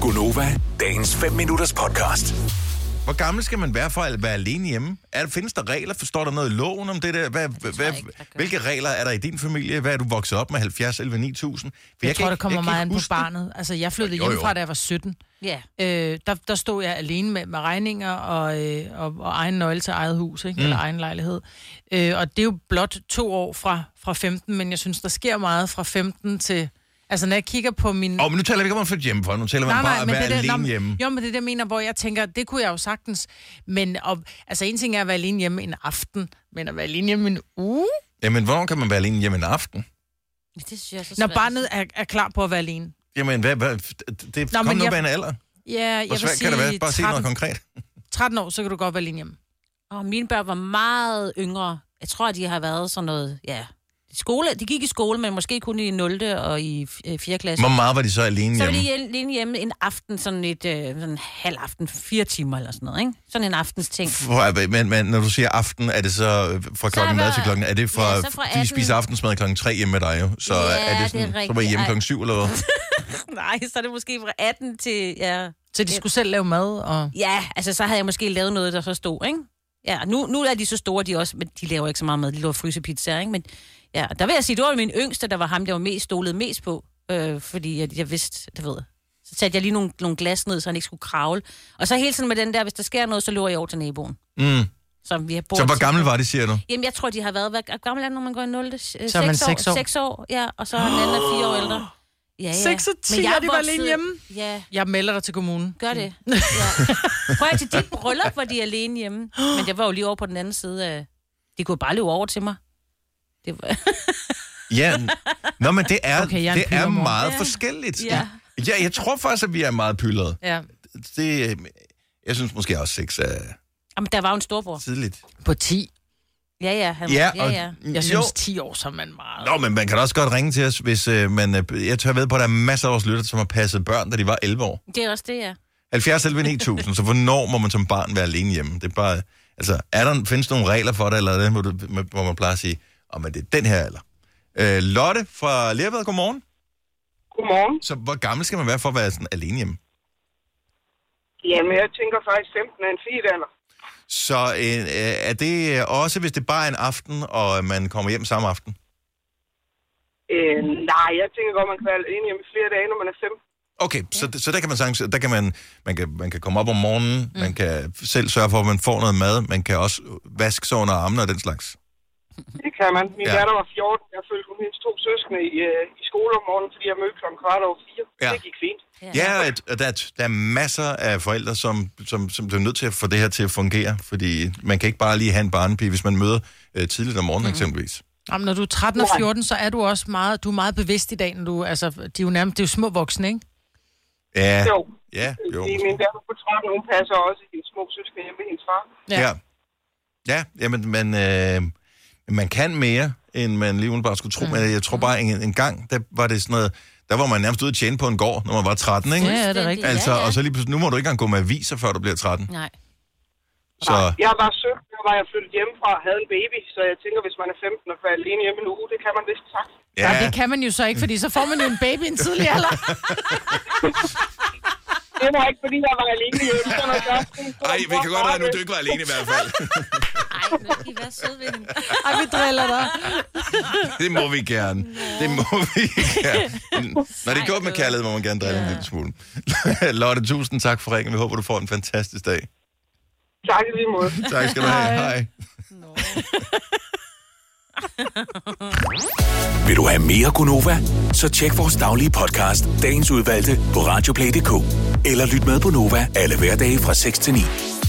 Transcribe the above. Gunova, dagens 5 minutters podcast. Hvor gammel skal man være for at være alene hjemme? Er, findes der regler? Forstår der noget i loven om det der? Hvad, hvad, ikke, der gør. hvilke regler er der i din familie? Hvad er du vokset op med? 70, 11, 9000? Jeg, jeg tror, det kommer meget an på barnet. Altså, jeg flyttede Jo, jo. hjemmefra, da jeg var 17. Ja. Øh, der, der stod jeg alene med, med regninger og, øh, og, og egen nøgle til eget hus, ikke? Mm. eller egen lejlighed. Øh, og det er jo blot to år fra, fra 15, men jeg synes, der sker meget fra 15 til... Altså, når jeg kigger på min... Åh, oh, men nu taler vi ikke om at flytte hjemmefra. Nu taler vi om bare at være det der- alene nå, men- hjemme. Jo, men det er det, jeg mener, hvor jeg tænker, det kunne jeg jo sagtens. Men og, altså, en ting er at være alene hjemme en aften, men at være alene hjemme en uge? Jamen, hvornår kan man være alene hjemme en aften? Det synes jeg er så Når svært. barnet er, er klar på at være alene. Jamen, hvad, hvad, det Nå, Nå, kom men nu jeg- med en alder. Ja, jeg Hvor vil svært kan det være? sige, Bare sig noget 13, konkret. 13 år, så kan du godt være alene hjemme. Og mine børn var meget yngre. Jeg tror, de har været sådan noget, ja... Skole, de gik i skole, men måske kun i 0. og i 4. klasse. Hvor meget var de så alene Så var hjemme? de hjel- alene hjemme en aften, sådan et øh, sådan en halv aften, fire timer eller sådan noget, ikke? Sådan en aftens ting. For, men, men når du siger aften, er det så øh, fra klokken hvad var- til klokken? Er det fra, Ja, så fra de 18. spiser aftensmad klokken 3 hjemme med dig jo? Så Ja, er det er det sådan, så var I rigtigt. hjemme Ej. klokken 7 eller hvad? Nej, så er det måske fra 18 til, ja... Så de skulle selv lave mad, og... Ja, altså så havde jeg måske lavet noget, der så stod, ikke? Ja, nu, nu er de så store, de også, men de laver ikke så meget mad, de laver frysepizzaer, ikke? Men ja, der vil jeg sige, det var min yngste, der var ham, der var mest stolet mest på, øh, fordi jeg, jeg vidste, det ved jeg. Så satte jeg lige nogle, nogle glas ned, så han ikke skulle kravle. Og så hele tiden med den der, hvis der sker noget, så løber jeg over til naboen. Mm. Så, vi har Så hvor gammel var det, siger du? Jamen, jeg tror, de har været... Hvad er gammel er det, når man går i 0. Så er man seks år. 6 år, ja. Og så er den anden er 4 år ældre. Ja, ja. Seks og ti, Men jeg og de var voksede- alene hjemme? Ja, Jeg melder dig til kommunen. gør det. Ja. Prøv at til dit bryllup, hvor de er alene hjemme. Men jeg var jo lige over på den anden side af... De kunne bare løbe over til mig. Det var... Ja. Nå, men det er, Okay, okay, jeg er, er en det er pyldermor. meget forskelligt. Ja. ja, jeg tror faktisk, at vi er meget pyldrede. Ja. Det, øh, jeg synes måske også, sex er Jamen, der var jo en storbror. tidligt. På 10. Ja, ja. Han, ja, og- ja. Jeg jo. synes, 10 år, så er man meget... Nå, men man kan da også godt ringe til os, hvis øh, man... Øh, jeg tør ved på, at der er masser af vores lytter, som har passet børn, da de var 11 år. Det er også det, ja. 70 11 9000, så hvornår må man som barn være alene hjemme? Det er bare, altså, er der, findes der nogle regler for det, eller er det, hvor, du, hvor man plejer at sige, om oh, det er den her alder? Øh, Lotte fra Lerved, godmorgen. Godmorgen. Så hvor gammel skal man være for at være sådan alene hjemme? Jamen, jeg tænker faktisk 15 er en fint alder. Så øh, øh, er det øh, også, hvis det bare er en aften, og man kommer hjem samme aften? Øh, nej, jeg tænker godt, man kan være alene hjemme i flere dage, når man er 15. Okay, ja. så, så der kan man sagtens, der kan man, man kan, man kan komme op om morgenen, mm. man kan selv sørge for, at man får noget mad, man kan også vaske sig under armene og den slags. Det kan man. Min Ja. ja. datter var 14. Jeg følte hun hendes to søskende i, øh, i skole om morgenen, fordi jeg mødte klokken kvart over fire. Ja. Ja. Det gik fint. Ja, og at- og der, er- der er masser af forældre, som, som, som er nødt til at få det her til at fungere, fordi man kan ikke bare lige have en barnepige, hvis man møder øh, tidligt om morgenen mm. eksempelvis. Jamen, når du er 13 og 14, så er du også meget, du er meget bevidst i dag, når du, altså, de er jo nærmest, det er jo små voksne, ikke? Ja, Jo. ja, jo. Fordi min datter på 13, hun passer også hendes små søskende hjemme med hendes far. Ja, ja. ja jamen, man, øh, man kan mere, end man lige umiddelbart skulle tro. Mm. Men jeg tror bare, en, en gang, der var det sådan noget, der var man nærmest ude at tjene på en gård, når man var 13, ikke? Ja, ja, det er rigtigt. Altså, Ja, ja. og så lige pludselig, nu må du ikke engang gå med aviser, før du bliver 13. Nej. Så, Jeg var 17, der var jeg flyttet hjemmefra og havde en baby, så jeg tænker, hvis man er 15 og er alene hjemme en uge, det kan man vist sagt. Ja. Nej, ja, det kan man jo så ikke, fordi så får man jo en baby i en tidlig alder. Det var ikke, fordi jeg var alene hjemme. Så når jeg ej, vi kan godt regne ud, du ikke var alene i hvert fald. Ej, I være søde ved hende. Ej, vi driller dig. Det må vi gerne. Det må vi gerne. Når det er gjort med kærlighed, må man gerne drille en lille smule. Lotte, tusind tak for ringen. Vi håber, du får en fantastisk dag. Tak i lige måde. Tak skal du have. Hej. Vil du have mere Gunova? Så tjek vores daglige podcast, dagens udvalgte, på radioplay.dk. Eller lyt med på Nova alle hverdage fra 6 til 9.